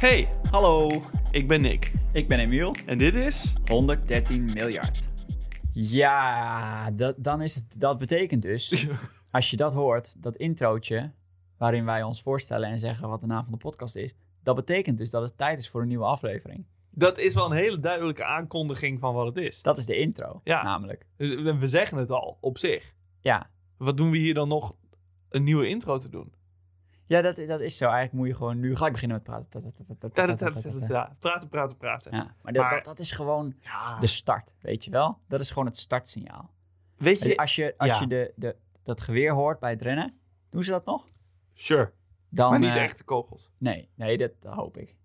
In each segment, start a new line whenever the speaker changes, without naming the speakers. Hey,
Hallo,
ik ben Nick
ik ben Emiel.
en dit is
113 miljard. Ja, dat, dan is het, dat betekent dus, als je dat hoort, dat introotje waarin wij ons voorstellen en zeggen wat de naam van de podcast is, dat betekent dus dat het tijd is voor een nieuwe aflevering.
Dat is wel een hele duidelijke aankondiging van wat het is.
Dat is de intro,
Ja.
namelijk.
Dus we zeggen het al op zich.
Ja,
Wat doen we hier dan nog een nieuwe intro te doen?
ja dat, dat is zo. Eigenlijk moet je gewoon nu gelijk beginnen met praten. Tatatatata.
Ja, Praten, praten, praten.
Ja, maar dat,
Maar-
dat, dat is gewoon
Ja.
de start, weet je wel? Dat is gewoon het startsignaal.
Weet je,
Als je, als
ja.
je de, de, dat geweer hoort bij het rennen, doen ze dat nog?
sure,
Dan,
maar niet
eh,
echte kogels.
Nee, nee, dat hoop ik.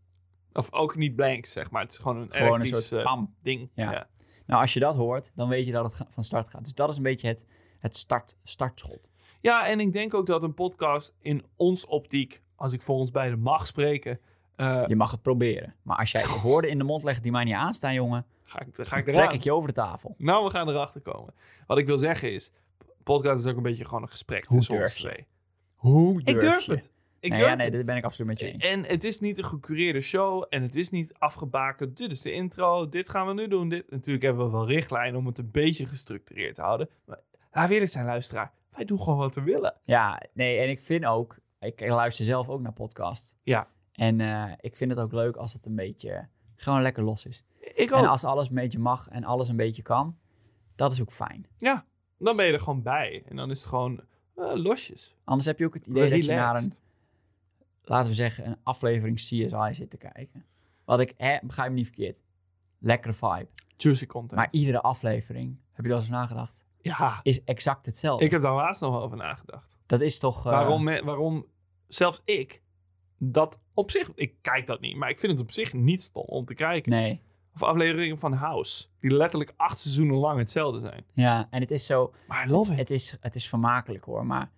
Of ook niet blanks, zeg maar. Het is gewoon een
Gewoon een
elektrisch,
soort
eh,
pam.
ding.
Ja. Nou, als je dat hoort, dan weet je dat het ga- van start gaat. Dus dat is een beetje het, het start, startschot.
Ja, en ik denk ook dat een podcast in ons optiek, als ik voor ons beiden mag spreken, eh,
Je mag het proberen. Maar als jij woorden in de mond legt die mij niet aanstaan, jongen,
ga ik, ga ik
trek
eraan.
ik je over de tafel.
Nou, we gaan erachter komen. Wat ik wil zeggen is, podcast is ook een beetje gewoon een gesprek
Hoe
tussen
durf
ons
je?
twee.
Hoe
Ik durf het. Ik
nee,
durf
ja, nee,
het.
dat ben ik absoluut met je eens.
En het is niet een gecureerde show en het is niet afgebakend. Dit is de intro, dit gaan we nu doen. Dit. Natuurlijk hebben we wel richtlijnen om het een beetje gestructureerd te houden. Maar laat we eerlijk zijn, luisteraar. Wij doen gewoon wat we willen.
Ja, nee, en ik vind ook, ik luister zelf ook naar podcasts.
Ja.
En eh, ik vind het ook leuk als het een beetje gewoon lekker los is.
Ik ook.
En als alles een beetje mag en alles een beetje kan, dat is ook fijn.
Ja, dan ben je er gewoon bij. En dan is het gewoon eh, losjes.
Anders heb je ook het idee dat je naar
Relaxed.
een, laten we zeggen, een aflevering CSI zit te kijken. Wat ik, hè, begrijp me niet verkeerd, lekkere vibe.
Juicy content.
Maar iedere aflevering, heb je daar eens over nagedacht,
ja,
is exact hetzelfde.
ik heb daar laatst nog over nagedacht.
Dat is toch... eh,
Waarom, me- waarom zelfs ik dat op zich... Ik kijk dat niet, maar ik vind het op zich niet stom om te kijken.
Nee,
Of afleveringen van House, die letterlijk acht seizoenen lang hetzelfde zijn.
ja, en het is zo,
Maar I love it.
het is, het is vermakelijk hoor, maar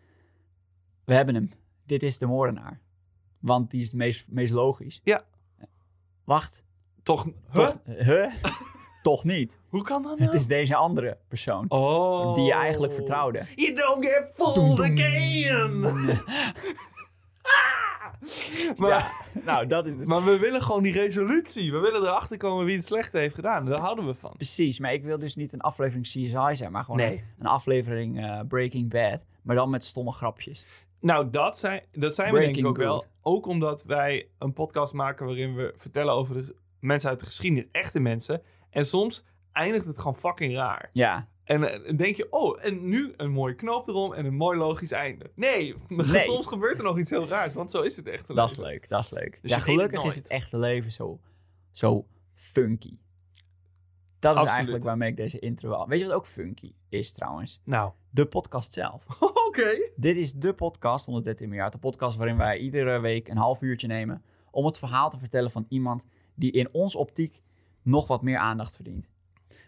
we hebben hem. Dit is de moordenaar. Want die is het meest, meest logisch.
Ja.
Wacht,
Toch, huh?
toch, huh? toch niet.
Hoe kan dat
Het
nou?
is deze andere persoon,
Oh.
die je eigenlijk vertrouwde.
You don't get fooled again! maar,
Nou, dat is dus...
maar we willen gewoon die resolutie. We willen erachter komen wie het slechte heeft gedaan. Daar houden we van.
Precies, maar ik wil dus niet een aflevering CSI zijn, maar gewoon
Nee.
een, een aflevering eh, Breaking Bad, maar dan met stomme grapjes.
Nou, dat zijn, dat zijn we denk ik
Breaking
ook wel.
good.
Ook omdat wij een podcast maken waarin we vertellen over de mensen uit de geschiedenis. Echte mensen. En soms eindigt het gewoon fucking raar.
Ja,
En eh, dan denk je, oh, en nu een mooie knoop erom en een mooi logisch einde. Nee,
Nee.
soms gebeurt er nog iets heel raars, want zo is het echt.
dat is leuk, dat is leuk.
Dus
ja,
je weet het
gelukkig
nooit.
is het echte leven zo, zo funky. Dat is
Absoluut.
eigenlijk waarmee ik deze intro al... Weet je wat ook funky is trouwens?
Nou,
De podcast zelf.
oké.
Dit is de podcast 113 miljard. De podcast waarin wij iedere week een half uurtje nemen om het verhaal te vertellen van iemand die in ons optiek nog wat meer aandacht verdient.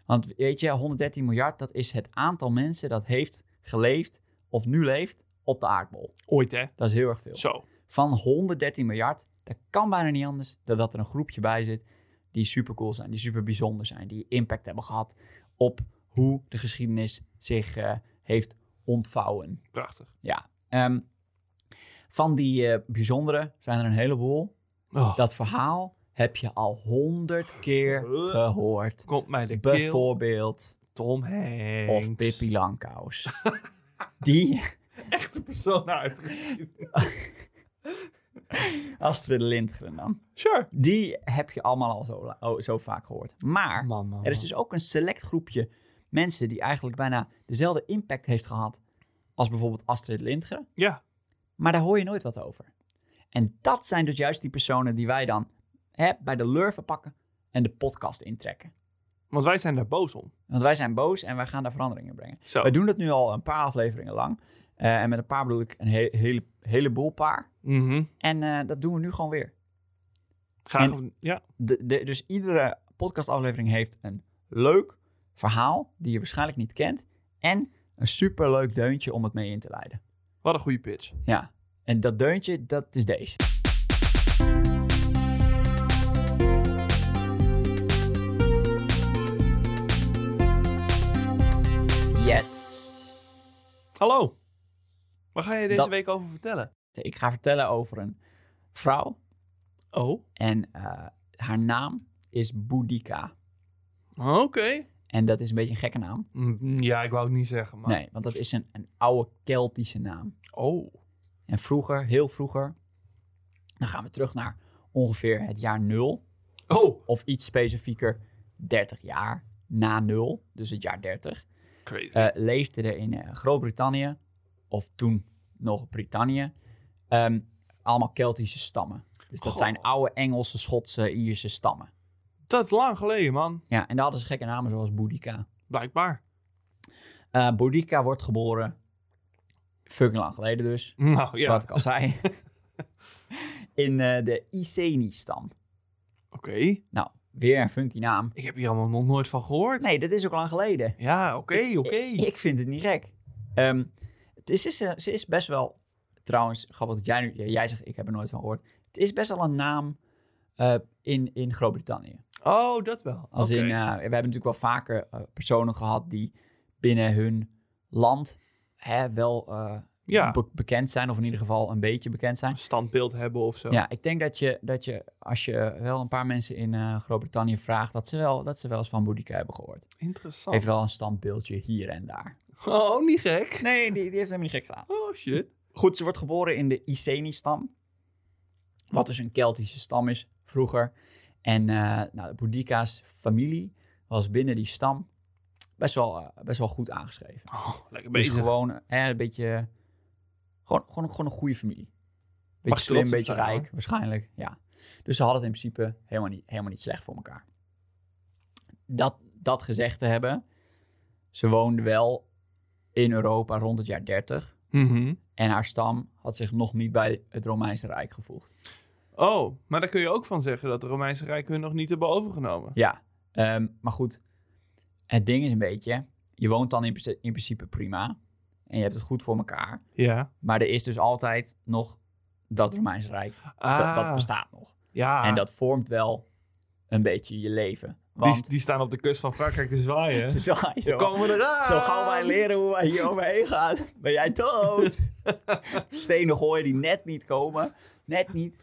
Want weet je, 113 miljard, dat is het aantal mensen dat heeft geleefd of nu leeft op de aardbol.
Ooit, hè?
Dat is heel erg veel.
Zo.
Van 113 miljard, dat kan bijna niet anders dan dat er een groepje bij zit die super cool zijn, die super bijzonder zijn, die impact hebben gehad op hoe de geschiedenis zich eh, heeft ontvouwen.
Prachtig.
Ja. ehm, van die eh, bijzondere zijn er een heleboel.
Oh,
Dat verhaal heb je al honderd keer gehoord.
komt mij de keel.
Bijvoorbeeld
Tom Hanks.
of Pippi Langkous. Die
Echte persoon uitgezien.
Astrid Lindgren dan.
Sure.
Die heb je allemaal al zo, la- oh, zo vaak gehoord. Maar
Man, man,
er is
man.
dus ook een select groepje mensen die eigenlijk bijna dezelfde impact heeft gehad als bijvoorbeeld Astrid Lindgren.
Ja.
Maar daar hoor je nooit wat over. En dat zijn dus juist die personen die wij dan hè, bij de lurven pakken en de podcast intrekken.
Want wij zijn daar boos om.
Want wij zijn boos en wij gaan daar veranderingen in brengen.
Zo.
We doen dat nu al een paar afleveringen lang. Eh, en met een paar bedoel ik een he- hele, heleboel paar.
Mhm.
En eh, dat doen we nu gewoon weer.
Graag.
En-
of- Ja.
De, de, dus iedere podcastaflevering heeft een leuk verhaal die je waarschijnlijk niet kent. En een superleuk deuntje om het mee in te leiden.
Wat een goede pitch.
Ja, en dat deuntje, dat is deze. Yes.
Hallo. Waar ga je deze
Dat-
week over vertellen?
Ik ga vertellen over een vrouw
Oh.
En eh, haar naam is Boudika.
Oké.
En dat is een beetje een gekke naam.
Mm, Ja, ik wou het niet zeggen, maar...
Nee, want dat is een, een oude Keltische naam.
Oh.
En vroeger, heel vroeger, dan gaan we terug naar ongeveer het jaar nul.
Oh.
Of iets specifieker, 30 jaar na nul, dus het jaar 30.
Crazy.
eh, leefde er in eh, Groot-Brittannië, of toen nog Brittannië, ehm, allemaal Keltische stammen. Dus dat
Goh.
zijn oude Engelse, Schotse, Ierse stammen.
dat is lang geleden, man.
Ja, en daar hadden ze gekke namen zoals Boudicca.
Blijkbaar.
Eh Boudicca wordt geboren, fucking lang geleden dus,
Nou, ja.
wat ik al zei, in eh, de Iceni-stam.
Oké.
Nou, weer een funky naam.
Ik heb hier allemaal nog nooit van gehoord.
Nee, dat is ook lang geleden.
Ja, oké, oké.
Ik, ik vind het niet gek. Ehm, het is, is, eh, ze is best wel, trouwens, grappig dat jij nu, ja, jij zegt ik heb er nooit van gehoord. Het is best wel een naam eh, in, in Groot-Brittannië.
Oh, dat wel.
Als
Oké.
in, eh, we hebben natuurlijk wel vaker eh, personen gehad die binnen hun land hè, wel eh,
ja,
be- bekend zijn, of in ieder geval een beetje bekend zijn.
een standbeeld hebben of zo.
Ja, ik denk dat je, dat je, als je wel een paar mensen in eh, Groot-Brittannië vraagt, dat ze, wel, dat ze wel eens van Boudicca hebben gehoord.
Interessant.
Heeft wel een standbeeldje hier en daar.
Oh, niet gek.
Nee, die, die heeft helemaal niet gek gedaan.
Oh, shit.
Goed, ze wordt geboren in de Iceni-stam. Wat dus een Keltische stam is vroeger. En eh nou, de Boudicca's familie was binnen die stam best wel, eh, best wel goed aangeschreven.
Oh, lekker
Dus
bezig.
gewoon eh, een beetje. Gewoon, gewoon, gewoon een goede familie.
Mag
Beetje
je
slim,
trots op
beetje
zijn,
rijk, waarschijnlijk. Ja. Dus ze hadden het in principe helemaal niet, helemaal niet slecht voor elkaar. Dat, dat gezegd te hebben, ze woonde wel in Europa rond het jaar 30.
Mhm.
En haar stam had zich nog niet bij het Romeinse Rijk gevoegd.
Oh, maar daar kun je ook van zeggen dat de Romeinse Rijk hun nog niet hebben overgenomen.
Ja, ehm, maar goed. Het ding is een beetje, je woont dan in, principe- in principe prima. En je hebt het goed voor elkaar.
Ja.
Maar er is dus altijd nog dat Romeinse Rijk.
Ah,
Dat, dat bestaat nog.
Ja,
En dat vormt wel een beetje je leven.
die,
Want
die staan op de kust van Frankrijk te zwaaien.
zo, zo,
We komen eraan.
zo gaan wij leren hoe wij hier overheen gaan. Ben jij dood? Stenen gooien die net niet komen. Net niet.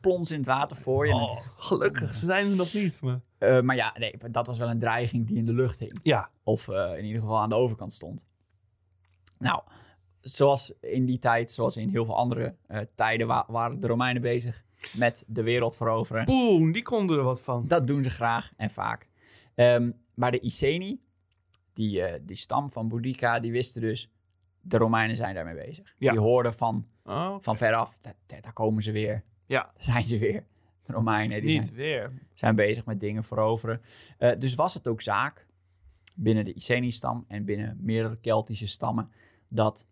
Plons in het water voor je. En het
Oh,
is-
gelukkig, ze zijn er nog niet. Maar...
Eh, maar ja, nee, dat was wel een dreiging die in de lucht hing.
Ja.
Of eh, in ieder geval aan de overkant stond. Nou, zoals in die tijd, zoals in heel veel andere eh, tijden, wa- waren de Romeinen bezig met de wereld veroveren.
Boem, die konden er wat van.
Dat doen ze graag en vaak. Ehm, maar de Iceni, die, eh, die stam van Boudica, die wisten dus, de Romeinen zijn daarmee bezig.
Ja.
Die hoorden van,
Oh,
van veraf, "Da- da- daar komen ze weer.
Ja.
Daar zijn ze weer. De Romeinen, die zijn
Oh, niet weer.
zijn bezig met dingen veroveren. Eh, dus was het ook zaak binnen de Iceni-stam en binnen meerdere Keltische stammen dat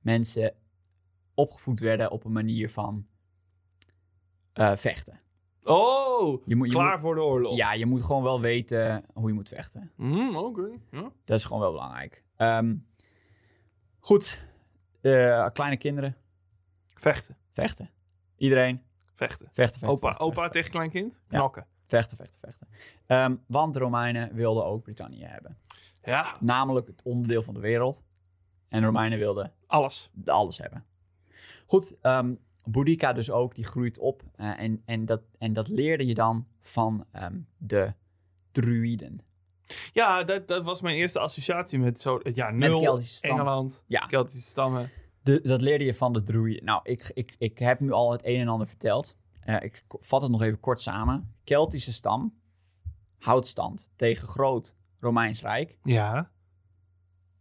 mensen opgevoed werden op een manier van eh, vechten.
Oh,
Je moet, je
klaar voor de
moet-
oorlog.
ja, je moet gewoon wel weten hoe je moet vechten.
Mm, Oké. Ja.
Dat is gewoon wel belangrijk. Ehm, goed, Eh, kleine kinderen
Vechten,
vechten. Iedereen
vechten.
vechten, vechten.
opa
vechten,
opa
vechten,
tegen kleinkind,
Ja.
knokken.
vechten, vechten, vechten. Ehm, want de Romeinen wilden ook Brittannië hebben.
Ja,
namelijk het onderdeel van de wereld. En de Romeinen wilden
alles.
alles hebben. Goed, ehm Boudica dus ook, die groeit op. eh, en, en, dat, en dat leerde je dan van ehm, de druïden.
Ja, dat, dat was mijn eerste associatie met zo, het jaar
Met
nul,
Keltische stammen.
Engeland,
Ja.
Keltische stammen.
De, dat leerde je van de druïden. Nou, ik, ik, ik heb nu al het een en ander verteld. Eh, ik k- vat het nog even kort samen. Keltische stam houdt stand tegen groot Romeins Rijk.
Ja,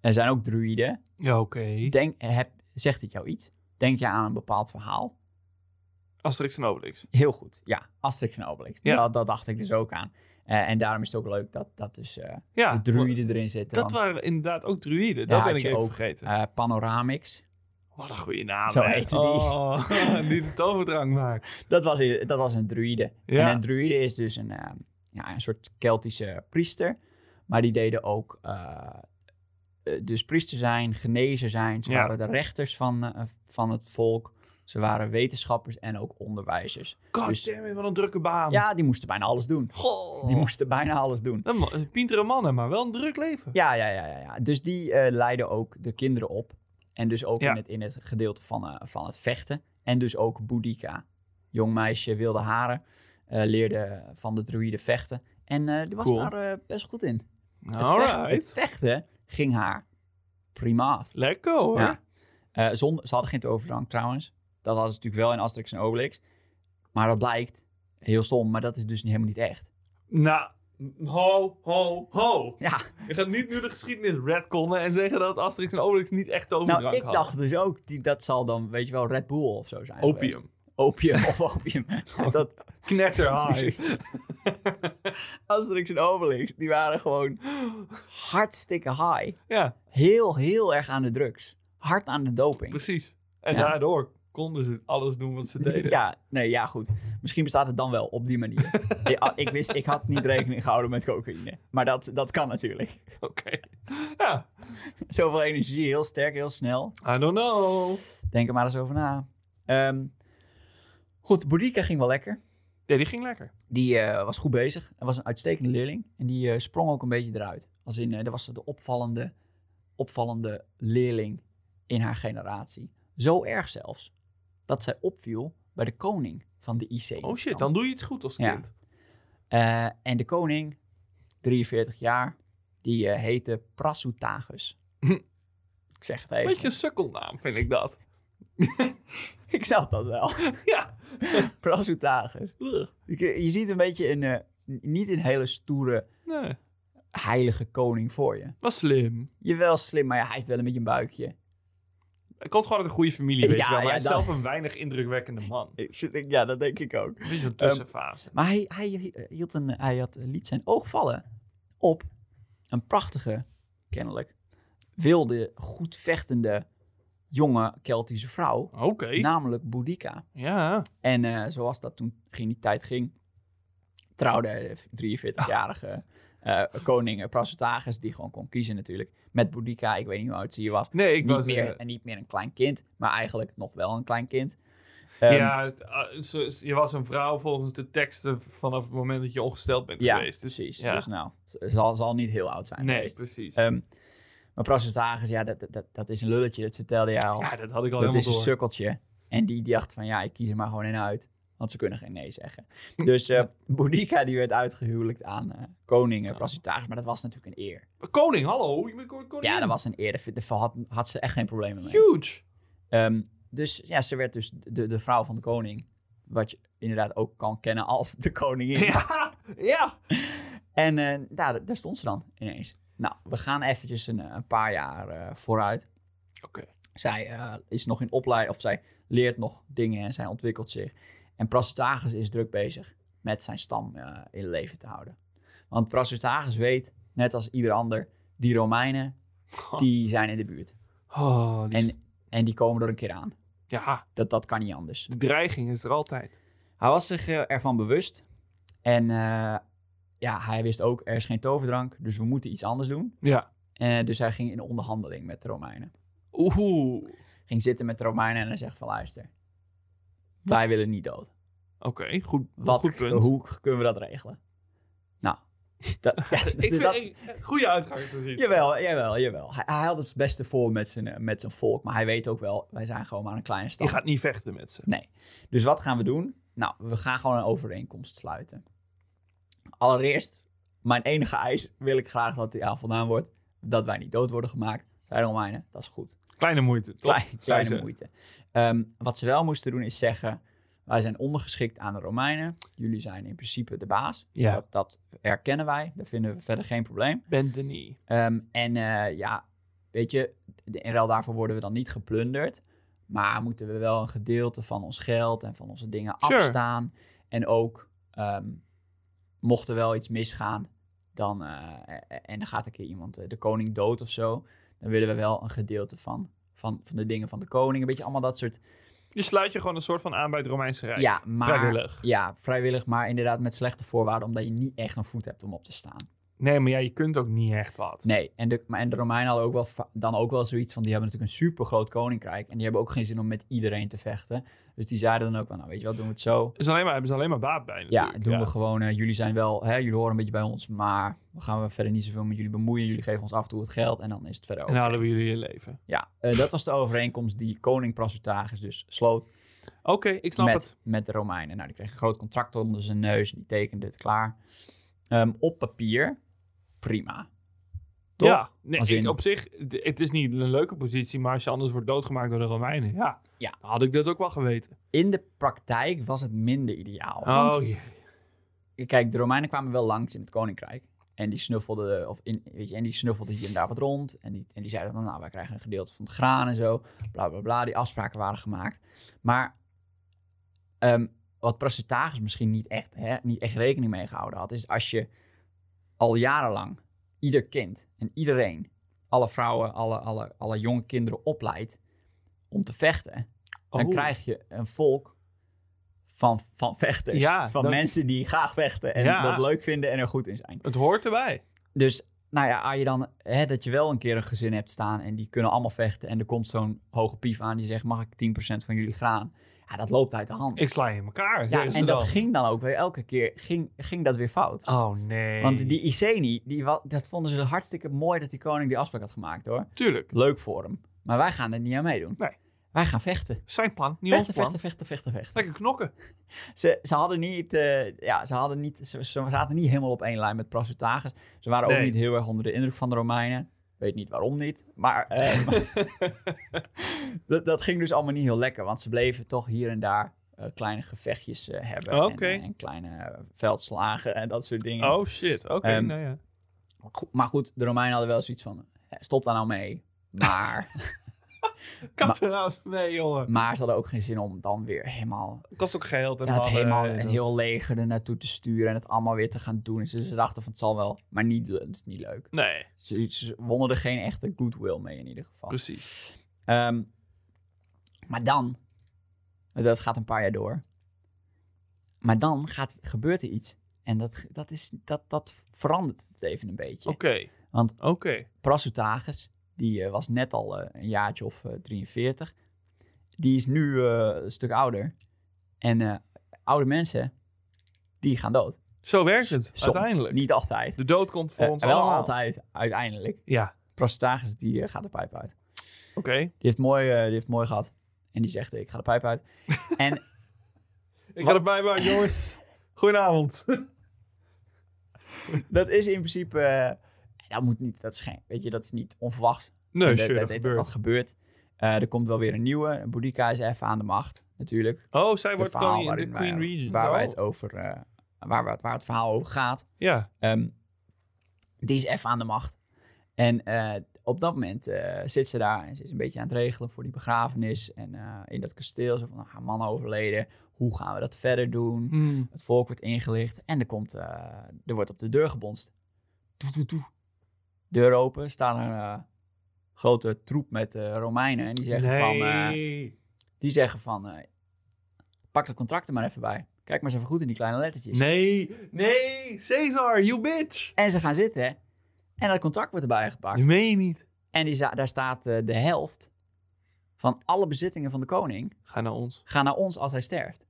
Er zijn ook druïden.
ja oké.
Denk, heb, zegt dit jou iets? Denk je aan een bepaald verhaal?
Asterix en Obelix.
Heel goed, ja. Asterix en Obelix.
Ja.
Dat, dat dacht ik dus ook aan. Eh, en daarom is het ook leuk dat, dat dus eh,
Ja,
de druïden erin zitten.
dat
want,
waren inderdaad ook druïden. Dat
Ja,
ben
had
ik
je
even
ook.
vergeten.
eh, Panoramix.
Wat een goede naam.
Zo
hè.
heette die.
Oh, die de toverdrank maakt.
Dat was, dat was een druïde.
Ja.
En een druïde is dus een, eh, ja, een soort Keltische priester. Maar die deden ook eh, eh, dus priester zijn, genezen zijn. Ze
Ja.
waren de rechters van, eh, van het volk. Ze waren wetenschappers en ook onderwijzers.
God
Dus-
damn it, wat een drukke baan.
Ja, die moesten bijna alles doen.
Goh.
Die moesten bijna alles doen.
Dat mo- een Pintere mannen, maar wel een druk leven.
Ja, ja, ja, ja, ja. Dus die eh, leiden ook de kinderen op. En dus ook
Ja.
in, het, in het gedeelte van, eh, van het vechten. En dus ook Boudicca. jong meisje, wilde haren. eh, leerde van de druïde vechten. En eh, die was
Cool.
daar eh, best goed in. Het vechten, het
Alright.
vechten ging haar prima af.
Lekker hoor.
Ja. Eh, zon- ze hadden geen toverdrang trouwens. Dat hadden ze natuurlijk wel in Asterix en Obelix. Maar dat blijkt, heel stom, maar dat is dus helemaal niet echt.
Nou, ho, ho, ho.
Ja,
Je gaat niet nu de geschiedenis retconnen en zeggen dat Asterix en Obelix niet echt de overdrank
nou ik
hadden.
dacht dus ook, die, dat zal dan, weet je wel, Red Bull of zo zijn geweest.
Opium. Oh.
Opium of opium. Ja, dat,
Knetterhaai.
Asterix en Obelix, die waren gewoon hartstikke high.
ja,
Heel, heel erg aan de drugs. Hard aan de doping.
precies. En
Ja.
daardoor konden ze alles doen wat ze deden.
Ja, nee, ja, goed. Misschien bestaat het dan wel op die manier. ik, ah, ik wist, ik had niet rekening gehouden met cocaïne. Maar dat, dat kan natuurlijk.
Oké. Ja,
Zoveel energie, heel sterk, heel snel.
I don't know.
Denk er maar eens over na. Ehm, goed, Boudika ging wel lekker.
Ja, die ging lekker. Oh
Die eh, was goed bezig. Hij was een uitstekende leerling. En die eh, sprong ook een beetje eruit. Als in, eh, dat was de opvallende, opvallende leerling in haar generatie. Zo erg zelfs, dat zij opviel bij de koning van de IC.
Oh shit, dan doe je iets goed als
Ja.
kind.
Eh, en de koning, 43 jaar, die eh, heette Prasutagus. ik zeg het even.
Beetje een sukkelnaam vind ik dat.
Ik snap dat wel.
ja.
Prasutagus.
Ugh.
Ik- Je ziet een beetje een, eh, n- niet een hele stoere,
Nee,
heilige koning voor je.
was slim.
Jawel slim, maar ja, hij heeft wel een beetje een buikje.
Hij komt gewoon uit een goede familie, weet
Ja,
je wel. Maar
ja,
hij is
dat-
zelf een weinig indrukwekkende man.
Ik zit- ik- Ja, dat denk ik ook.
Een beetje een tussenfase.
Maar hij, hij, eh, hield een, hij had, liet zijn oog vallen op een prachtige, kennelijk, wilde, goed vechtende, jonge Keltische vrouw.
Oké,
Namelijk Boudica.
ja.
En eh, zoals dat toen in die tijd ging, trouwde de 43-jarige eh, koning Prasutagus, die gewoon kon kiezen natuurlijk, met Boudica, ik weet niet hoe oud ze hier was.
Nee, ik
Niet
was...
meer,
eh,
en niet meer een klein kind, maar eigenlijk nog wel een klein kind. Ehm,
ja, het, ah, ze- ze- je was een vrouw volgens de teksten vanaf het moment dat je ongesteld bent
ja,
geweest. Dus,
precies.
ja.
Dus nou, ze- zal, zal niet heel oud zijn
nee,
geweest.
precies.
Ehm, maar Prasutagus, ja, dat, dat, dat is een lulletje, dat vertelde jij al.
ja, dat had ik al
dat is
helemaal
een
door.
sukkeltje. En die dacht van, ja, ik kies er maar gewoon in uit. Want ze kunnen geen nee zeggen.
Hm,
Dus eh Boudica die werd uitgehuwelijkd aan eh, koning eh, Prasutagus. Maar dat was natuurlijk een eer.
Koning, hallo. Je bent ko- koningin.
Ja, dat was een eer. Daar vind- Daar had, had ze echt geen problemen mee.
Huge.
Ehm, dus ja, ze werd dus de, de vrouw van de koning. Wat je inderdaad ook kan kennen als de koningin.
Ja, ja.
En eh, daar, daar stond ze dan ineens. Nou, we gaan eventjes een, eh, een paar jaar eh, vooruit.
Oké.
Zij eh, is nog in opleiding, of zij leert nog dingen en zij ontwikkelt zich. En Prasutagus is druk bezig met zijn stam eh, in leven te houden. Want Prasutagus weet, net als ieder ander, die Romeinen, die zijn in de buurt.
Oh, die st-
En, en die komen er een keer aan.
ja,
Dat, dat kan niet anders.
de dreiging is er altijd.
Hij was zich eh, ervan bewust. En eh, ja, hij wist ook, er is geen toverdrank, dus we moeten iets anders doen.
Ja.
Eh, dus hij ging in onderhandeling met de Romeinen.
Oeh. Oké,
Ging zitten met de Romeinen en hij zegt van luister, wij willen niet dood.
goed,
Wat,
goed punt.
Hoe kunnen we dat regelen? Nou, dat,
ik vind,
dat-
ik- goede uitgang te zien.
jawel, jawel, jawel. Hij, hij had het beste voor met zijn, eh, met zijn volk, maar hij weet ook wel, wij zijn gewoon maar een kleine
Je
stad.
gaat niet vechten met ze.
Nee. Dus wat gaan we doen? Nou, we gaan gewoon een overeenkomst sluiten. Allereerst, mijn enige eis wil ik graag dat die aan voldaan wordt. Dat wij niet dood worden gemaakt. Zij Romeinen, dat is goed.
Kleine moeite. toch?
Klein,
Zei
kleine
ze.
moeite. Ehm, wat ze wel moesten doen is zeggen, wij zijn ondergeschikt aan de Romeinen. Jullie zijn in principe de baas.
Ja.
Dat, dat erkennen wij. Daar vinden we verder geen probleem.
Bend the knee.
Ehm, en eh, ja, weet je, de- in ruil daarvoor worden we dan niet geplunderd. Maar moeten we wel een gedeelte van ons geld en van onze dingen
Sure.
afstaan. En ook, ehm, mocht er wel iets misgaan, dan, eh, en dan gaat een keer iemand, eh, de koning dood of zo. Dan willen we wel een gedeelte van, van, van de dingen van de koning. Een beetje allemaal dat soort.
Je sluit je gewoon een soort van aan bij het Romeinse Rijk.
Ja, maar,
Vrijwillig.
Ja, vrijwillig, maar inderdaad met slechte voorwaarden, omdat je niet echt een voet hebt om op te staan.
Nee, maar ja, je kunt ook niet echt wat.
Nee, en de, maar en de Romeinen hadden ook wel, va- dan ook wel zoiets van... die hebben natuurlijk een supergroot koninkrijk... en die hebben ook geen zin om met iedereen te vechten. Dus die zeiden dan ook van, nou weet je wat, doen we het zo.
Is alleen maar, hebben ze alleen maar baat bij
Ja,
natuurlijk.
doen we gewoon, eh, jullie zijn wel... Hè, jullie horen een beetje bij ons, maar we gaan we verder niet zoveel met jullie bemoeien. Jullie geven ons af en toe het geld en dan is het verder
En
ook.
dan hadden we jullie je leven.
Ja, eh, dat was de overeenkomst die koning Prasutagus dus sloot.
Oké, ik snap
met,
het.
met de Romeinen. Nou, die kreeg een groot contract onder zijn neus. en Die tekende het klaar. Ehm, op papier, prima. Toch?
Ja, nee,
Als in-
ik- op zich, d- het is niet een leuke positie, maar als je anders wordt doodgemaakt door de Romeinen, ja,
Ja.
dan had ik dat ook wel geweten.
In de praktijk was het minder ideaal. Want,
Oh, jee.
kijk, de Romeinen kwamen wel langs in het koninkrijk. En die snuffelden, of in, weet je, en die snuffelden hier en daar wat rond. En die, en die zeiden dan, nou, wij krijgen een gedeelte van het graan en zo. Bla, bla, bla. Die afspraken waren gemaakt. Maar ehm, wat Prasutagus misschien niet echt, hè, niet echt rekening mee gehouden had... is als je al jarenlang ieder kind en iedereen... alle vrouwen, alle, alle, alle jonge kinderen opleidt om te vechten... dan
Oh.
krijg je een volk van, van vechters.
Ja,
van
dan-
mensen die graag vechten en
Ja.
dat leuk vinden en er goed in zijn.
Het hoort erbij.
Dus nou ja, als je dan hè, dat je wel een keer een gezin hebt staan en die kunnen allemaal vechten en er komt zo'n hoge pief aan die zegt: mag ik 10% van jullie graan? Ja, dat loopt uit de hand.
Ik sla je in elkaar,
ja,
zeggen ze
en dat
dan.
ging dan ook weer elke keer ging, ging dat weer fout.
Oh, nee.
Want die Iceni, die, wa- dat vonden ze hartstikke mooi dat die koning die afspraak had gemaakt hoor.
Tuurlijk,
Leuk voor hem. Maar wij gaan er niet aan meedoen.
Nee.
Wij gaan vechten.
zijn plan, niet ons
Vechten,
plan.
vechten, vechten, vechten, vechten.
Lekker knokken.
Ze, ze hadden niet, eh, ja, ze hadden niet, ze, ze zaten niet helemaal op één lijn met Prasutagus. Ze waren ook
Nee.
niet heel erg onder de indruk van de Romeinen. Weet niet waarom niet, maar eh, dat, dat ging dus allemaal niet heel lekker, want ze bleven toch hier en daar eh, kleine gevechtjes eh, hebben en,
Oké.
eh, en, kleine veldslagen en dat soort dingen.
Oh, shit. Oké,
Ehm,
nou ja.
Maar goed- Maar goed, de Romeinen hadden wel zoiets van, eh, stop daar nou mee. Maar,
Kap er nou eens mee, jongen.
maar ze hadden ook geen zin om dan weer helemaal
Kost ook geld. En
Ja, het
mannen,
helemaal
en
een
dat-
heel leger er naartoe te sturen en het allemaal weer te gaan doen. Dus ze dachten van het zal wel, maar niet, het is niet leuk.
Nee,
Ze, ze wonnen er geen echte goodwill mee in ieder geval.
precies.
Ehm, maar dan, dat gaat een paar jaar door. Maar dan gaat, gebeurt er iets. En dat, dat, is, dat, dat verandert het even een beetje.
Oké.
Want-
Oké.
Prasutagus, die eh, was net al eh, een jaartje of eh, 43. Die is nu eh, een stuk ouder. En eh, oude mensen, die gaan dood.
Zo werkt het,
Soms,
uiteindelijk.
Niet altijd.
De dood komt voor
Eh,
ons
wel
allemaal.
altijd, uiteindelijk.
Ja,
Prasutagus, die eh, gaat de pijp uit.
oké.
Die heeft, mooi, eh, die heeft mooi gehad. En die zegt, ik ga de pijp uit. en
Ik
Wat-
ga erbij maken, jongens. Goedenavond.
dat is in principe... eh, dat moet niet, dat is geen, weet je, dat is niet onverwachts.
Nee,
En dat,
sure,
dat,
dat
dat,
gebeurt.
dat gebeurt. Eh, er komt wel weer een nieuwe. Boudica is even aan de macht, natuurlijk.
Oh, zij
de
wordt
verhaal
koningin in
waarin
de Queen
wij-
Regent.
Waar, wij
Oh.
het over, eh, waar, waar, waar het verhaal over gaat.
Ja,
Ehm, die is even aan de macht. En eh, op dat moment eh, zit ze daar en ze is een beetje aan het regelen voor die begrafenis. En eh, in dat kasteel, zo van nou, haar man overleden. Hoe gaan we dat verder doen?
Hmm.
Het volk wordt ingelicht en er, komt, eh, er wordt op de deur gebonst. Toe, toe, toe. Deur open, staan een eh, grote troep met eh, Romeinen. En die zeggen van... eh,
Nee.
die zeggen van, eh, pak de contracten maar even bij. Kijk maar eens even goed in die kleine lettertjes.
nee, nee, Caesar, you bitch.
En ze gaan zitten hè. en dat contract wordt erbij gepakt.
Dat meen je niet.
En die za- daar staat eh, de helft van alle bezittingen van de koning
Ga naar ons.
gaan naar ons als hij sterft.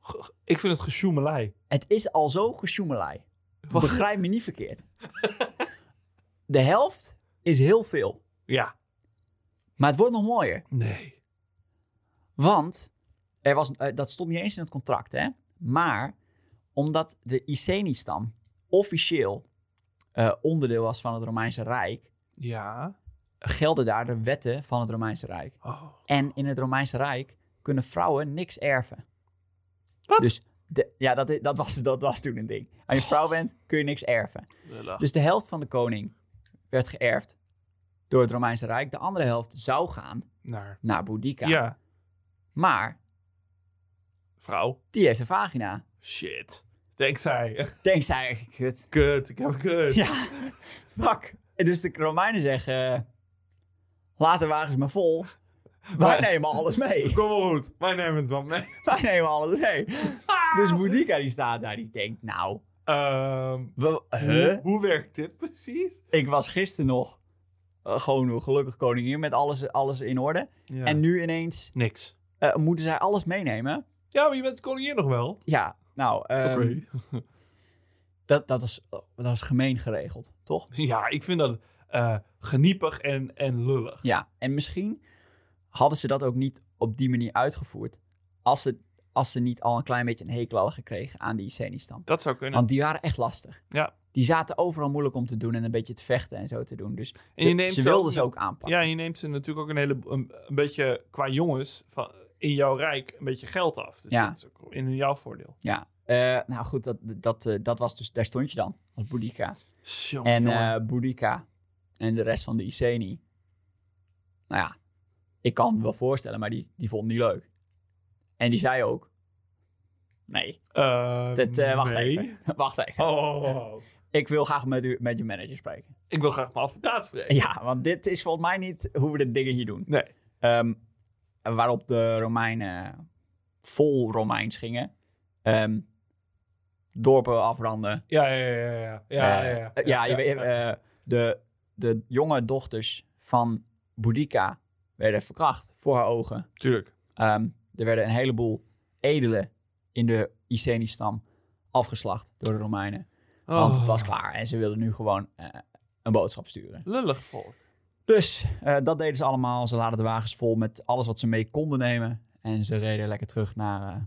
G- g- Ik vind het gesjoemelij.
Het is al zo gesjoemelei.
Wat?
Begrijp me niet verkeerd. De helft is heel veel.
Ja,
Maar het wordt nog mooier.
nee.
Want er was, eh, dat stond niet eens in het contract, hè? Maar omdat de Iceni-stam officieel eh, onderdeel was van het Romeinse Rijk,
Ja.
gelden daar de wetten van het Romeinse Rijk.
Oh.
En in het Romeinse Rijk kunnen vrouwen niks erven.
Wat?
Dus de- ja, dat, i- dat, was, dat was toen een ding. Als je vrouw bent, kun je niks erven.
lullig.
Dus de helft van de koning werd geërfd door het Romeinse Rijk. De andere helft zou gaan
Naar.
naar Boudica.
Ja,
Maar
vrouw.
die heeft een vagina.
Shit. Denkt zij.
Denkt zij eigenlijk, kut.
Kut, ik heb een kut.
Ja, fuck. En dus de Romeinen zeggen, eh, laat de wagens maar vol. Wij
Maar-
nemen alles mee.
Kom maar goed, wij nemen het wel mee.
Wij nemen alles mee. Dus Boudica die staat daar, die denkt, nou,
Ehm,
we, huh?
hoe, hoe werkt dit precies?
ik was gisteren nog eh, gewoon gelukkig koningin met alles, alles in orde.
Ja.
En nu ineens
niks.
eh, moeten zij alles meenemen.
Ja, maar je bent koningin nog wel.
Ja, nou, ehm, dat, dat, is, dat is gemeen geregeld, toch?
Ja, ik vind dat eh, geniepig en, en lullig.
Ja, en misschien hadden ze dat ook niet op die manier uitgevoerd Als ze, als ze niet al een klein beetje een hekel hadden gekregen aan die Iceni-stam.
Dat zou kunnen.
Want die waren echt lastig.
Ja.
Die zaten overal moeilijk om te doen en een beetje te vechten en zo te doen. Dus
en je
de-
neemt
ze wilden
ook-
ze ook aanpakken.
Ja, en je neemt ze natuurlijk ook een hele een, een beetje qua jongens van, in jouw rijk een beetje geld af. Dus
Ja.
dat is ook in jouw voordeel.
Ja. Eh, nou goed, dat, dat, eh, dat was dus, daar stond je dan, als Boudica.
Tjonge,
En
jonge.
eh Boudica en de rest van de Iceni. Nou ja, ik kan me wel voorstellen, maar die, die vond het niet leuk. En die zei ook, nee,
Eh,
dat, eh, wacht
nee.
even, wacht even.
Oh,
Ik wil graag met, u, met je manager spreken.
ik wil graag mijn advocaat spreken.
Ja, want dit is volgens mij niet hoe we dit ding hier doen.
Nee.
Ehm, waarop de Romeinen vol Romeins gingen. Ehm, dorpen afbranden.
Ja, ja, ja, ja, ja. Ja,
Eh,
ja, ja.
eh, je weet, eh, de, de jonge dochters van Boudica werden verkracht voor haar ogen.
Tuurlijk.
Ehm, er werden een heleboel edelen in de Iceni-stam afgeslacht door de Romeinen. Want
Oh.
het was klaar en ze wilden nu gewoon eh, een boodschap sturen.
Lullig volk.
Dus eh, dat deden ze allemaal. Ze laden de wagens vol met alles wat ze mee konden nemen. En ze reden lekker terug naar eh,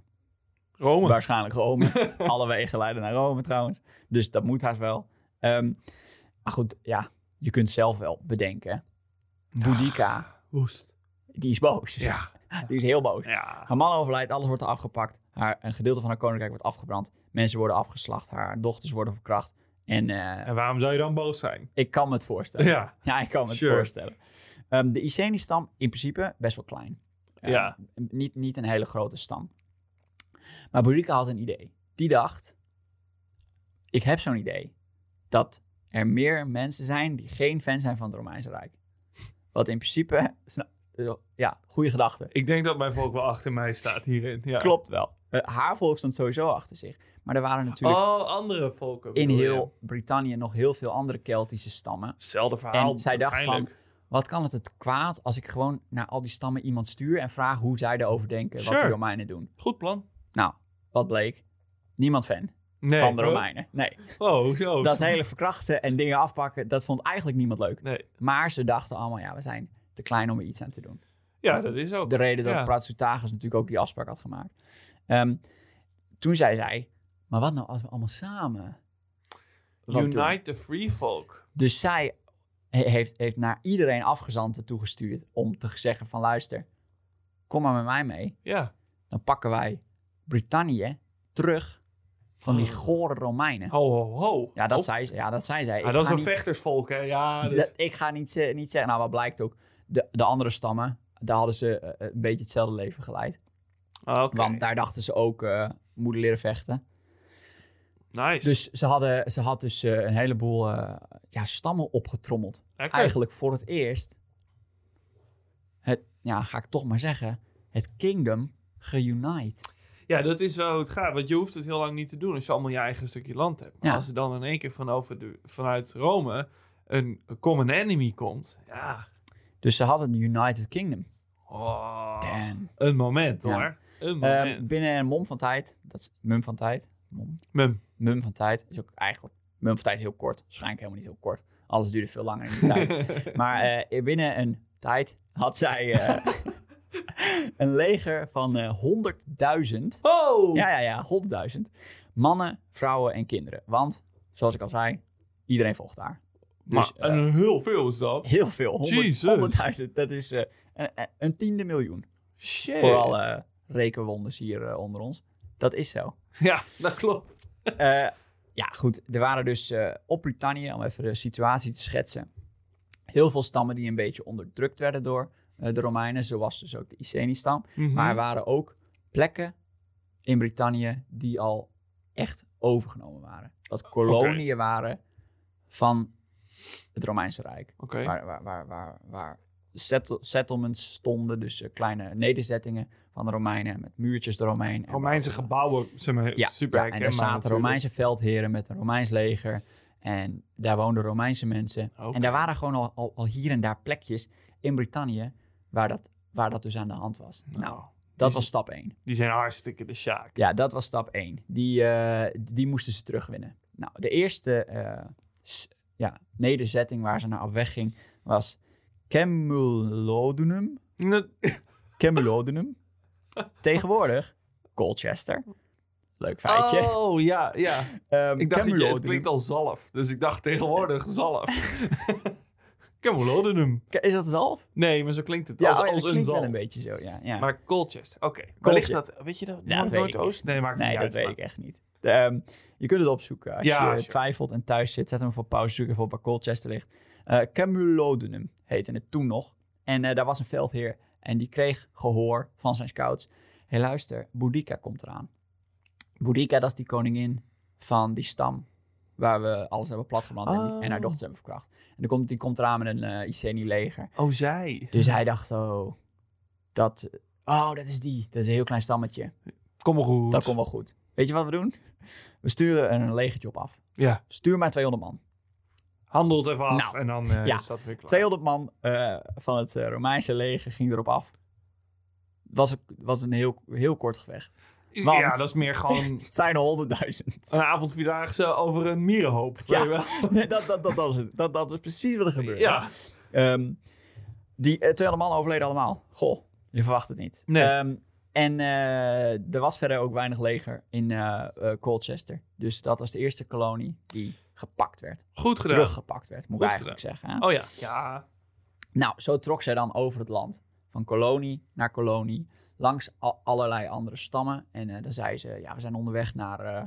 Rome.
waarschijnlijk Rome. Alle wegen leiden naar Rome trouwens. Dus dat moet haast wel. Ehm, maar goed, ja, je kunt zelf wel bedenken. Boudica,
Woest.
die is boos.
Ja.
Die is heel boos.
Ja.
Haar man overlijdt, alles wordt afgepakt. Haar, een gedeelte van haar koninkrijk wordt afgebrand. Mensen worden afgeslacht. Haar dochters worden verkracht. En eh,
En waarom zou je dan boos zijn?
ik kan me het voorstellen.
Ja.
Ja, ik kan me het
Sure.
voorstellen. Ehm, de Iceni-stam in principe best wel klein. Ehm,
Ja.
Niet, niet een hele grote stam. Maar Boerica had een idee. Die dacht, ik heb zo'n idee dat er meer mensen zijn die geen fan zijn van het Romeinse Rijk. Wat in principe, sna- eh, ja, goede gedachte.
Ik denk dat mijn volk wel achter mij staat hierin. Ja.
Klopt wel. Eh, haar volk stond sowieso achter zich. Maar er waren natuurlijk
Oh, andere volken.
in
bedoel je?
heel Brittannië nog heel veel andere Keltische stammen.
Hetzelfde verhaal.
En zij dacht van-
waarschijnlijk.
Wat kan het het kwaad als ik gewoon naar al die stammen iemand stuur en vraag hoe zij erover denken, wat
Sure.
de Romeinen doen?
Goed plan.
Nou, wat bleek? Niemand fan
Nee.
van de
huh?
Romeinen. Nee.
Oh, hoezo?
Dat hele verkrachten en dingen afpakken, dat vond eigenlijk niemand leuk.
Nee.
Maar ze dachten allemaal, ja, we zijn te klein om er iets aan te doen.
Ja, dat is ook.
De reden dat
Ja.
Pratsutagus natuurlijk ook die afspraak had gemaakt. Ehm, toen zei zij, maar wat nou als we allemaal samen wat doen?
Unite the free folk.
Dus zij he- heeft, heeft naar iedereen afgezanten toegestuurd om te zeggen van luister, kom maar met mij mee.
Ja.
Dan pakken wij Brittannië terug van die
Oh.
gore Romeinen.
Ho, ho, ho.
Ja, dat
Op.
zei, ze- ja, dat zei zij.
Ah, dat is
ga
een
niet-
vechtersvolk, hè? Ja, dat
dat- ik ga niet, ze- niet zeggen, nou wat blijkt ook, de, de andere stammen, daar hadden ze eh, een beetje hetzelfde leven geleid.
Ah, oké.
Want daar dachten ze ook eh moeten leren vechten.
Nice.
Dus ze, hadden, ze had dus eh, een heleboel eh, ja, stammen opgetrommeld.
Lekker.
eigenlijk voor het eerst het, ja, ga ik toch maar zeggen, het kingdom geunite.
Ja, dat is wel hoe het gaat. Want je hoeft het heel lang niet te doen als je allemaal je eigen stukje land hebt. Maar
Ja.
als er dan in één keer van over de, vanuit Rome een common enemy komt. Ja.
Dus ze hadden het United Kingdom.
Oh,
Damn.
een moment
Ja.
hoor. Een
Ehm,
moment.
binnen een mom van tijd, dat is mum van tijd, mom,
Mem.
mum van tijd, is ook eigenlijk, mum van tijd is heel kort, waarschijnlijk helemaal niet heel kort. Alles duurde veel langer in die tijd. Maar eh, binnen een tijd had zij eh, een leger van eh 100.000
Oh!
Ja, ja, ja, 100.000. Mannen, vrouwen en kinderen. Want, zoals ik al zei, iedereen volgt daar. Dus
maar,
eh,
en heel veel is dat.
heel veel. 100
Jesus.
100.000, dat is eh, een, een- een tiende miljoen.
Shit.
Voor alle rekenwonders hier eh, onder ons. Dat is zo.
Ja, dat klopt.
Eh, ja, goed. Er waren dus eh, op Brittannië, om even de situatie te schetsen, heel veel stammen die een beetje onderdrukt werden door eh, de Romeinen. Zoals dus ook de Iceni-stam.
Mhm.
Maar er waren ook plekken in Brittannië die al echt overgenomen waren. Dat koloniën waren van het Romeinse Rijk.
Oké.
Waar, waar, waar, waar, waar settle- settlements stonden, dus eh, kleine nederzettingen van de Romeinen met muurtjes eromheen. En
Romeinse gebouwen zijn maar
ja,
super
ja, en daar zaten Romeinse veldheren met een Romeins leger. En daar woonden Romeinse mensen.
Oké.
En daar waren gewoon al, al, al hier en daar plekjes in Brittannië waar dat, waar dat dus aan de hand was. Nou,
Nou,
dat was stap 1.
die zijn hartstikke de Sjaak.
Ja, dat was stap 1. Die, eh, die moesten ze terugwinnen. Nou, de eerste eh, s- ja, nederzetting waar ze naar op weg ging was Camulodunum.
Nou,
Camulodunum. Tegenwoordig, Colchester. Leuk feitje.
Oh, ja, ja. Ik dacht, dat
Ehm,
je-
Cambuur
het klinkt al zalf. Dus ik dacht tegenwoordig zalf. Camulodunum.
Is dat zalf?
Nee, maar zo klinkt het.
Ja,
als,
oh ja,
als
dat
een
klinkt wel
zalf.
een beetje zo, ja. ja.
Maar Colchester, oké. Waar ligt
Colchester.
dat? Weet je dat?
Ja, dat weet ik
Noord-Oost? Nee, maakt
nee,
niet
dat
uit.
weet
maar-
ik echt niet. Ehm, je kunt het opzoeken. Als
Ja,
je
als je-
twijfelt en thuis zit, zet hem voor pauze. Zoek even op waar Colchester ligt. Eh Camulodunum heette het toen nog. En eh, daar was een veldheer. En die kreeg gehoor van zijn scouts. Hé, luister, Boudica komt eraan. Boudica, dat is die koningin van die stam. Waar we alles hebben platgebrand en, die- en haar
Oh.
dochters hebben verkracht. En die komt, die komt eraan met een eh Iceni-leger.
Oh, zij.
Dus hij dacht, oh, dat, oh, dat is die. Dat is een heel klein stammetje.
Kom maar goed.
Dat komt wel goed. Weet je wat we doen? We sturen een legertje op af.
Ja,
Stuur maar 200 man.
handelt even af
Nou,
en dan eh,
ja.
is dat weer klaar.
200 man eh, van het eh, Romeinse leger ging erop af. Was, een- was een heel, heel kort gevecht.
Ja,
want-
dat is meer gewoon
Het zijn er 100.000.
een avondvierdaagse over een mierenhoop.
Ja.
Weet je
Nee, dat, dat, dat, was het. Dat, dat was precies wat er
wel?
gebeurde.
ja.
Ehm, die eh, 200 man overleden allemaal. Goh, je verwacht het niet.
Nee.
Ehm, en eh, er was verder ook weinig leger in eh, eh, Colchester. Dus dat was de eerste kolonie die gepakt werd.
Goed gedaan.
Teruggepakt werd, moet
Goed
ik eigenlijk zeggen. hè.
Oh ja. Ja.
Nou, zo trok zij dan over het land. Van kolonie naar kolonie. Langs al- allerlei andere stammen. En eh dan zei ze, ja, we zijn onderweg naar eh,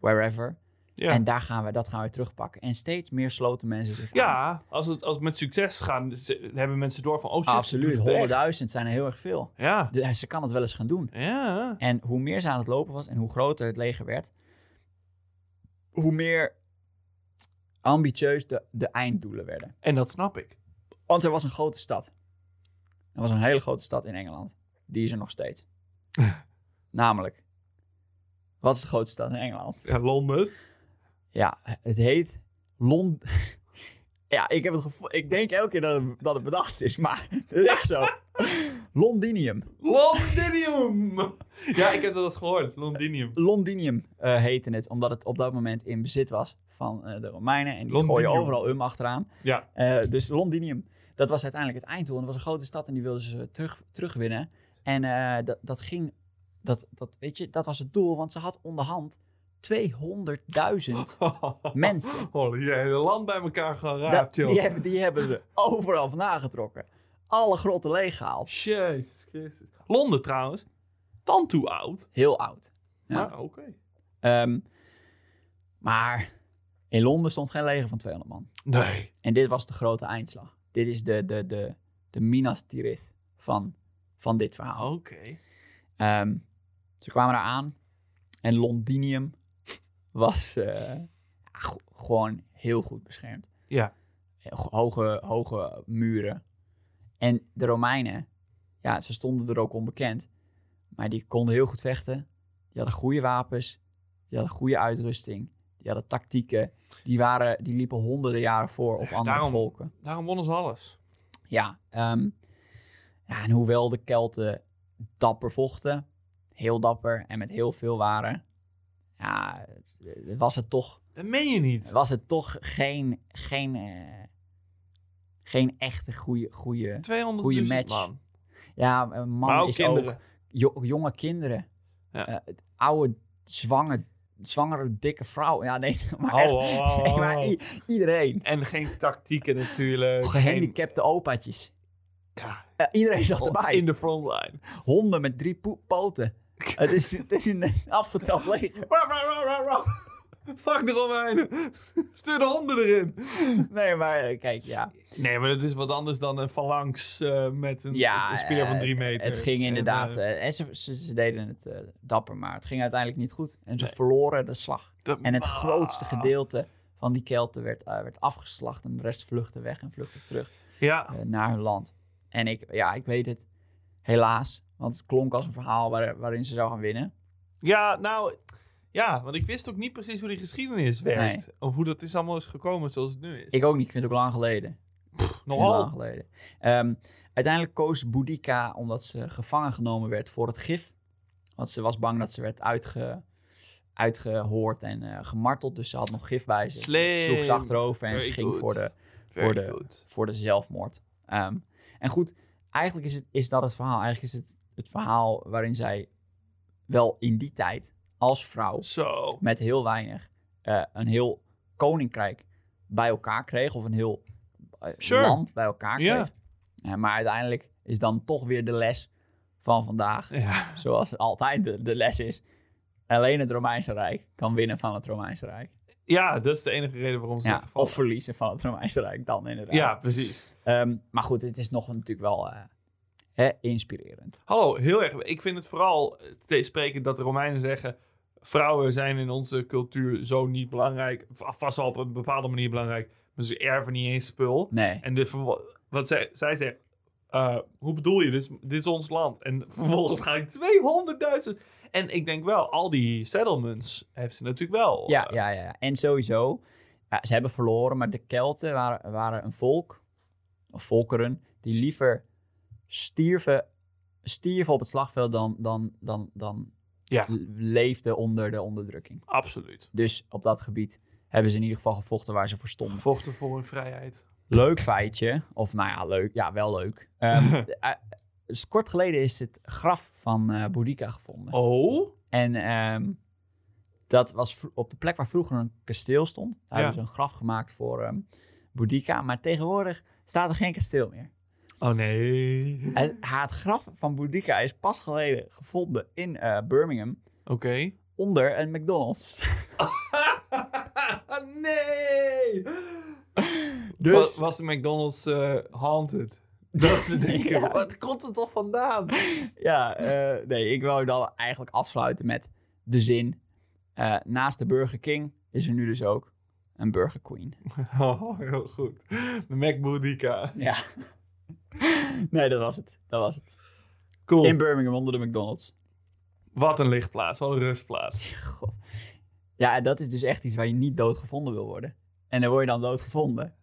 wherever.
Ja.
En daar gaan we, dat gaan we terugpakken. En steeds meer sloten mensen zich aan.
Ja, als het, als het met succes gaan, ze- hebben mensen door van... Oh, shit, ze
Absoluut,
doet het echt.
100.000 zijn er heel erg veel.
Ja.
De- ze kan het wel eens gaan doen.
Ja.
En hoe meer ze aan het lopen was en hoe groter het leger werd, hoe meer ambitieus de, de einddoelen werden.
En dat snap ik.
Want er was een grote stad. Er was een hele grote stad in Engeland. Die is er nog steeds. Namelijk, wat is de grootste stad in Engeland?
Ja, Londen.
Ja, het heet Londen. Ja, ik heb het gevoel. Ik denk elke keer dat het, dat het bedacht is, maar het is echt zo. Londinium.
Londinium! ja, ik heb dat gehoord. Londinium.
Londinium eh, heette het, omdat het op dat moment in bezit was van eh, de Romeinen. En die
Londinium.
gooien overal um achteraan.
Ja.
Eh, dus Londinium, dat was uiteindelijk het einddoel. En dat was een grote stad en die wilden ze terug, terugwinnen. En eh, dat, dat ging, dat, dat, weet je, dat was het doel. Want ze had onderhand 200.000 mensen.
Oh, je hele land bij elkaar gaan
Da-
raapt, joh.
die, hebben, die hebben ze overal vandaan getrokken. Alle grotten leeggehaald.
Jezus Christus. Londen trouwens. Dan toe oud.
Heel oud. Ja.
Maar oké.
Ehm, maar in Londen stond geen leger van 200 man.
Nee.
En dit was de grote eindslag. Dit is de, de, de, de Minas Tirith van, van dit verhaal.
Oké.
Ehm, ze kwamen daar aan en Londinium was eh, go- gewoon heel goed beschermd. Eh,
Ja.
Hoge, hoge muren. En de Romeinen, ja, ze stonden er ook onbekend. Maar die konden heel goed vechten. Die hadden goede wapens. Die hadden goede uitrusting. Die hadden tactieken. Die, waren, die liepen honderden jaren voor op andere
daarom-
volken.
Daarom wonnen ze alles.
Ja, ehm, ja, en hoewel de Kelten dapper vochten, heel dapper en met heel veel waren, ja, was het toch,
Dat meen je niet.
was het toch geen, geen, eh, geen echte goede, goede,
200
Goeie match.
man.
ja, een man
Maar ook
is
kinderen.
ook jo- jonge kinderen,
Ja.
Eh, het oude, zwange, zwangere, dikke vrouw, ja, nee, maar,
Oh,
echt,
oh, oh,
nee, maar
oh.
i- iedereen,
En geen tactieken natuurlijk.
gehandicapte opaatjes,
Geen- ja,
Eh, iedereen zat erbij.
Oh, in de frontline.
honden met drie poe- poten. het, is, het is een afgetrapt leger.
Wauw, wauw, wauw, wauw, wauw. Fuck de Romeinen. Stuur de honden erin.
Nee, maar eh, kijk, ja.
Nee, maar dat is wat anders dan een phalanx eh, met een,
Ja,
een speer van drie meter.
Het ging
En,
inderdaad.
eh,
eh, en ze, ze, ze deden het eh, dapper, maar het ging uiteindelijk niet goed. En ze
Nee.
verloren de slag.
dat-
eh, En het
ah.
grootste gedeelte van die Kelten werd, eh, werd afgeslacht. En de rest vluchtte weg en vluchtte terug
Ja,
eh, naar hun land. En ik, ja, ik weet het helaas. Want het klonk als een verhaal waar- waarin ze zou gaan winnen.
ja, nou... Ja, want ik wist ook niet precies hoe die geschiedenis werkt. Of hoe dat is allemaal is gekomen zoals het nu is.
Ik Nou, ook niet. Ik vind het ook lang geleden. Heel lang
Nogal.
geleden. Ehm, uiteindelijk koos Boudica omdat ze gevangen genomen werd voor het gif. Want ze was bang dat ze werd uitge, uitgehoord en eh, gemarteld. Dus ze had nog gif bij zich.
Slim.
Het sloeg ze achterover en
Very
ze ging
good.
voor de,
Very
Voor de-
good.
voor de zelfmoord. Ehm, en goed, eigenlijk is, het, is dat het verhaal. Eigenlijk is het, het verhaal waarin zij wel in die tijd als vrouw
Zo.
met heel weinig eh, een heel koninkrijk bij elkaar kreeg. Of een heel eh,
Sure.
land bij elkaar kreeg.
Ja.
Eh, maar uiteindelijk is dan toch weer de les van vandaag.
Ja.
Zoals altijd de, de les is. Alleen het Romeinse Rijk kan winnen van het Romeinse Rijk.
ja, dat is de enige reden waarom ze
Ja,
zijn gevallen.
of verliezen van het Romeinse Rijk dan inderdaad.
Ja, precies.
Ehm, maar goed, het is nog natuurlijk wel eh, hè, inspirerend.
Hallo, heel erg. Ik vind het vooral te spreken dat de Romeinen zeggen... vrouwen zijn in onze cultuur zo niet belangrijk. Va- Vast wel op een bepaalde manier belangrijk. Maar ze erven niet eens spul.
Nee,
En de verwo- wat zij, zij zegt... eh, hoe bedoel je, dit is, dit is ons land. En vervolgens ga ik 200.000... En ik denk wel, al die settlements heeft ze natuurlijk wel.
Ja,
eh,
ja, ja. ja. En sowieso, ja, ze hebben verloren, maar de Kelten waren, waren een volk, of volkeren, die liever stierven, stierven op het slagveld dan, dan, dan, dan
Ja.
leefden onder de onderdrukking.
Absoluut.
Dus op dat gebied hebben ze in ieder geval gevochten waar ze voor stonden.
Vochten voor hun vrijheid.
Leuk feitje, of nou ja, leuk, ja, wel leuk. Ehm, de- eh, dus kort geleden is het graf van eh Boudica gevonden.
Oh?
En ehm, dat was vro- op de plek waar vroeger een kasteel stond. Daar
Ja.
hebben ze een graf gemaakt voor ehm Boudica. Maar tegenwoordig staat er geen kasteel meer.
Oh nee. Oké.
En haar, het graf van Boudica is pas geleden gevonden in eh, Birmingham. Onder een McDonald's.
nee!
Dus
Was, was de McDonald's eh, haunted? Dat ze denken,
Ja.
wat komt er toch vandaan?
ja, eh, nee, ik wou dan eigenlijk afsluiten met de zin. eh, naast de Burger King is er nu dus ook een Burger Queen.
Oh, heel goed. De Mac Boudica.
Ja. nee, dat was het. Dat was het.
Cool.
In Birmingham onder de McDonald's.
Wat een lichtplaats, wat een rustplaats.
God. Ja, en dat is dus echt iets waar je niet doodgevonden wil worden. En dan word je dan doodgevonden.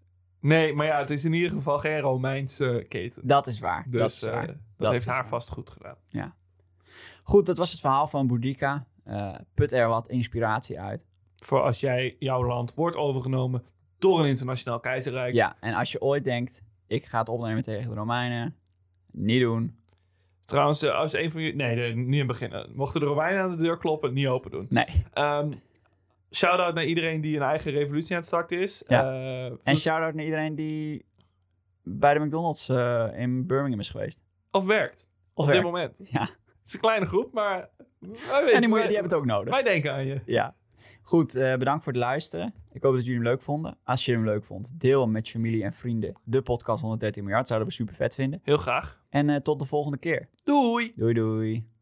Nee, maar ja, het is in ieder geval geen Romeinse keten.
Dat is waar. dat
Dus
is
eh,
waar.
dat,
Dat
heeft
is
haar
waar.
vast goed gedaan.
Goed, dat was het verhaal van Boudica. Eh, put er wat inspiratie uit.
Voor als jij, jouw land wordt overgenomen door een internationaal keizerrijk.
Ja, en als je ooit denkt, ik ga het opnemen tegen de Romeinen. Niet doen.
Trouwens, eh, als een van jullie... Nee, nee, niet aan het begin. Eh, Mochten de Romeinen aan de deur kloppen, niet open doen.
Nee.
Ehm Shout-out naar iedereen die een eigen revolutie aan het starten is.
Ja.
Eh,
En
vloes-
shout-out naar iedereen die bij de McDonald's eh, in Birmingham is geweest.
of werkt. op
Of werkt.
dit moment.
Ja.
Het is een kleine groep, maar wij,
En
weten,
die, moet je-
wij,
die hebben het ook nodig.
wij denken aan je.
Ja. Goed, eh, bedankt voor het luisteren. Ik hoop dat jullie hem leuk vonden. Als je hem leuk vond, deel hem met je familie en vrienden. De podcast 113 miljard zouden we super vet vinden.
Heel graag.
En eh, tot de volgende keer.
Doei!
Doei doei.